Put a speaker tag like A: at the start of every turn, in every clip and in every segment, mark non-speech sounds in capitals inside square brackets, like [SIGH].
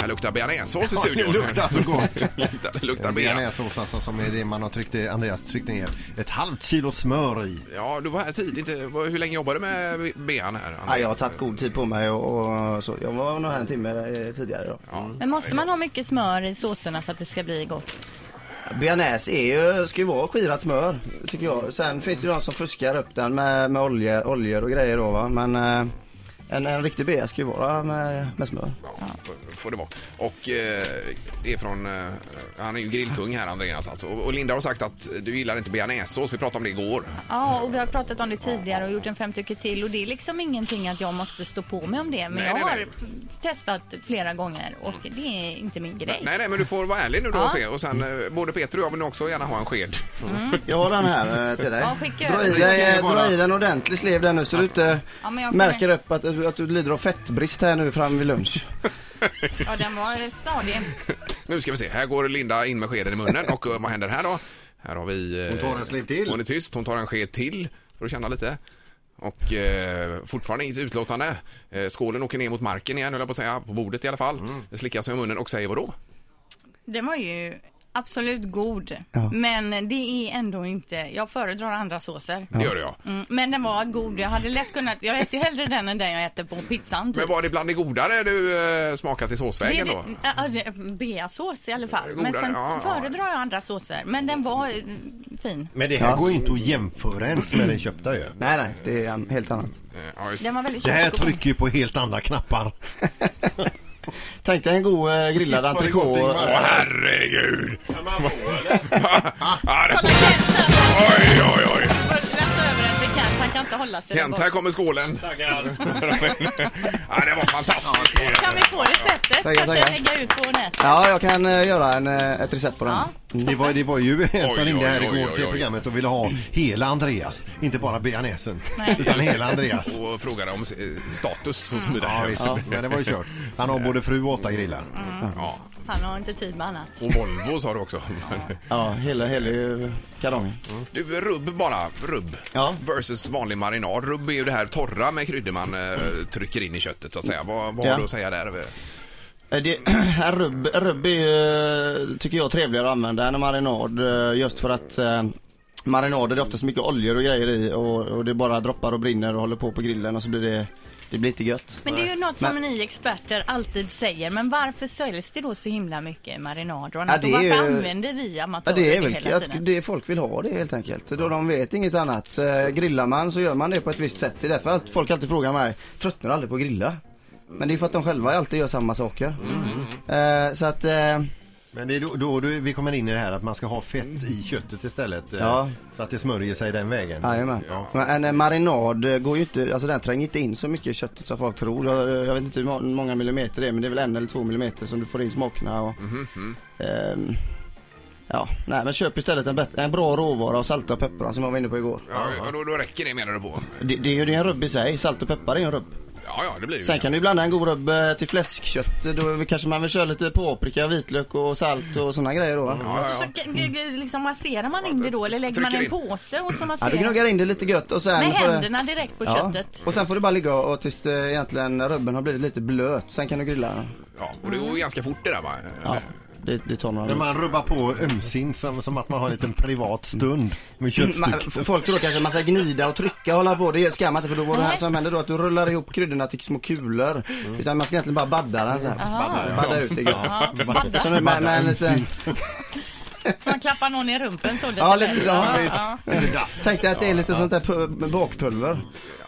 A: här luktar bearnaisesås i
B: Ja,
A: studion.
B: det luktar så gott.
A: [LAUGHS] luktar det luktar bearnaise.
B: Bearnaisesås alltså, som är det man har tryckt, i- Andreas tryckt ner ett halvt kilo smör i.
A: Ja, du var här tidigt. Eh, vad- Hur länge jobbade du med bean här?
C: Ja, jag har tagit god tid på mig och, och så. Jag var nog här en timme eh, tidigare idag.
D: Men måste man ha mycket smör i såserna för att det ska bli gott?
C: Bearnaise är ju, ska ju vara skirat smör tycker jag. Sen finns det ju de som fuskar upp den med, med olja, oljor och grejer då va. Men eh, en, en riktig bearnaise ska ju vara med, med smör.
A: Ja, f- får det vara. Och eh, det är från, eh, han är ju grillkung här Andreas alltså. Och och Linda har sagt att du gillar inte bearnaisesås, vi pratade om det igår.
D: Ja, och vi har pratat om det tidigare och gjort en fem tycker till och det är liksom ingenting att jag måste stå på mig om det. Men
A: Nej,
D: jag
A: nej,
D: har
A: nej. Mm.
D: testat flera gånger och det är inte min grej.
A: Nej, nej, men du får vara ärlig nu då
D: Ja.
A: och se. Och sen, eh, både Peter och jag vill nog också gärna ha en sked.
C: Jag har den här eh, till dig.
D: Ja, skicka
C: dra, i dig
D: över.
B: Risken är
C: eh,
B: bara-
C: dra i den ordentlig slev där nu så du inte
D: Ja, men jag-
C: märker upp att, att du lider av fettbrist här nu fram vid lunch.
D: Ja, den var stadig.
A: Nu ska vi se, här går Linda in med skeden i munnen och eh, vad händer här då? Här har vi... eh,
B: Hon tar en sliv till.
A: Hon är tyst, hon tar en sked till för att känna lite. Och eh, fortfarande inget utlåtande. Eh, skålen åker ner mot marken igen höll jag på att säga, på bordet i alla fall. Det slickar sig i munnen och säger vadå?
D: Den var ju absolut god.
C: Ja.
D: Men det är ändå inte, jag föredrar andra såser.
A: Det gör det ja.
D: Mm, men den var god, jag hade lätt kunnat, jag äter hellre den än den jag äter på pizzan typ.
A: Men var det bland det godare du eh, smakat i
D: Det är
A: såsvägen då?
D: det- ja, det är Beasås i alla fall. Men
A: Godare,
D: sen
A: ja, ja.
D: föredrar jag andra såser. Men den var eh, fin.
B: Men det här
C: Ja.
B: går ju inte att jämföra ens med det köpta ju.
C: Nej nej, det är um, helt annat.
A: Eh, Ja, just.
D: Den var väldigt
B: Det här
D: tjock och-
B: trycker ju på helt andra knappar.
C: Tänk dig en god eh, grillad
B: Visst var det gott,
C: entrecote.
B: Ingmar?
A: Åh herregud! Ja, det-
D: Kolla Kent, han
A: Oj, oj, oj!
D: har fått läsa över den till Kent. Han kan inte hålla sig. där
A: Kent,
D: bak.
A: här kommer skålen. Tackar. ja, det var fantastiskt.
D: Kan vi få receptet?
C: Tackar,
D: Kanske
C: tackar.
D: lägga ut på nätet.
C: Ja, jag kan eh, göra en, eh, ett recept på den.
D: Ja.
B: Det var, det var ju en
A: Oj,
B: som ringde här
A: oj, oj,
B: igår
A: oj,
B: till
A: oj.
B: programmet och ville ha hela Andreas. Inte bara bearnaisen,
D: Nej.
B: utan hela Andreas.
A: Och frågade om eh, status och så
B: Ja,
A: vidare.
B: visst. Men det var ju kört. Han har både fru och åtta grillar.
A: Ja.
D: Han har inte tid med annat.
A: Och Volvo sa du också. [LAUGHS]
C: Ja, hela, hela eh, kalongen.
A: Du, rubb bara. Rubb.
C: Ja.
A: Versus vanlig marinad. Rubb är ju det här torra med kryddor man eh, trycker in i köttet så att säga. Vad, vad har
C: Ja.
A: du att säga där?
C: Eh, Det, [CLEARS THROAT] här rubb, rubb är ju, eh, tycker jag, trevligare att använda än en marinad. eh, Just för att eh, marinader det är oftast mycket oljor och grejer i och, och det bara droppar och brinner och håller på på grillen och så blir det, det blir inte gött.
D: Men det är ju något som ni experter alltid säger. Men varför säljs det då så himla mycket marinader och annat?
C: det
D: och varför
C: är ju-
D: använder vi
C: Ja,
D: amatörer
C: det är
D: det
C: väl
D: hela
C: att
D: tiden?
C: det folk vill ha det helt enkelt. Då de vet inget annat. Eh, Grillar man så gör man det på ett visst sätt. Det är därför att folk alltid frågar mig, tröttnar du aldrig på att grilla? Men det är för att de själva alltid gör samma saker.
D: Mm.
C: Eh, så att eh,
B: Men det är då, då, då vi kommer in i det här att man ska ha fett i köttet istället. eh,
C: Ja.
B: Så att det smörjer sig den vägen.
C: Jajamän.
A: Ja.
C: Men en eh, marinad eh, går ju inte, alltså den tränger inte in så mycket i köttet som folk tror. Jag, jag vet inte hur ma- många millimeter det är men det är väl en eller två millimeter som du får in smakerna och...
A: Mhm,
C: Ehm, ja, nej men köp istället en, bet- en bra råvara och salta och peppra som jag var inne på igår.
A: Ja, ja, då, då räcker det menar du på?
C: Det, det är ju det är en rubb i sig, salt och peppar är ju en rubb.
A: Ja, ja, det blir det ju.
C: Sen kan du ju blanda en god rubb eh, till fläskkött. Då kanske man vill köra lite paprika, vitlök och salt och sådana grejer då va?
A: Ja, ja, ja.
D: Så k- g- g- liksom masserar man in det då eller lägger man en
A: Trycker
D: påse och så
C: Ja, du
D: masserar
C: gnuggar in det lite gött och sen
D: Med
C: får det-
D: händerna direkt på köttet.
C: Och sen får du bara ligga och tills det egentligen rubben har blivit lite blöt. Sen kan du grilla den.
A: ja, och det går ju ganska fort det där va?
C: Ja, det, det tar några
B: Men
C: minuter.
B: man rubbar på ömsint som, som att man har en liten privat stund med köttstycket.
C: Mm, Man- Folk tror kanske att man ska gnida och trycka och hålla på. Det ska man inte för då var det här
D: Nej.
C: som händer då att du rullar ihop kryddorna till små kulor. Utan man ska egentligen bara badda den så här.
D: Aha.
C: Badda ut det gött.
D: Ja, badda.
C: Så nu med, med en liten,
D: Man klappar någon i rumpen så lite.
C: Ja, lite,
D: lätt.
C: ja,
B: visst.
C: tänk dig att det är lite sånt där pu- bakpulver.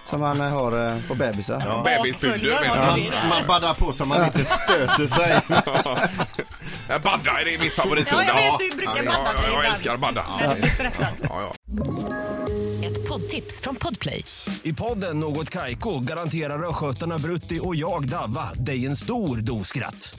C: Som man eh, har eh, på bebisar.
A: Ja, Bebispuder
D: Bakfulla,
A: menar
D: ja.
A: du?
B: Man, man baddar på så man inte stöter sig.
A: [LAUGHS] Ja, Badda är det mitt favoritord.
D: Ja, jag vet, du brukar
A: Ja,
D: badda
A: ja, ja, Jag
D: ibland.
A: älskar badda.
D: När du blir stressad.
A: Ja, ja.
E: Ett poddtips från Podplay.
F: I podden Något Kaiko garanterar östgötarna Brutti och jag, Davva, dig en stor dos skratt.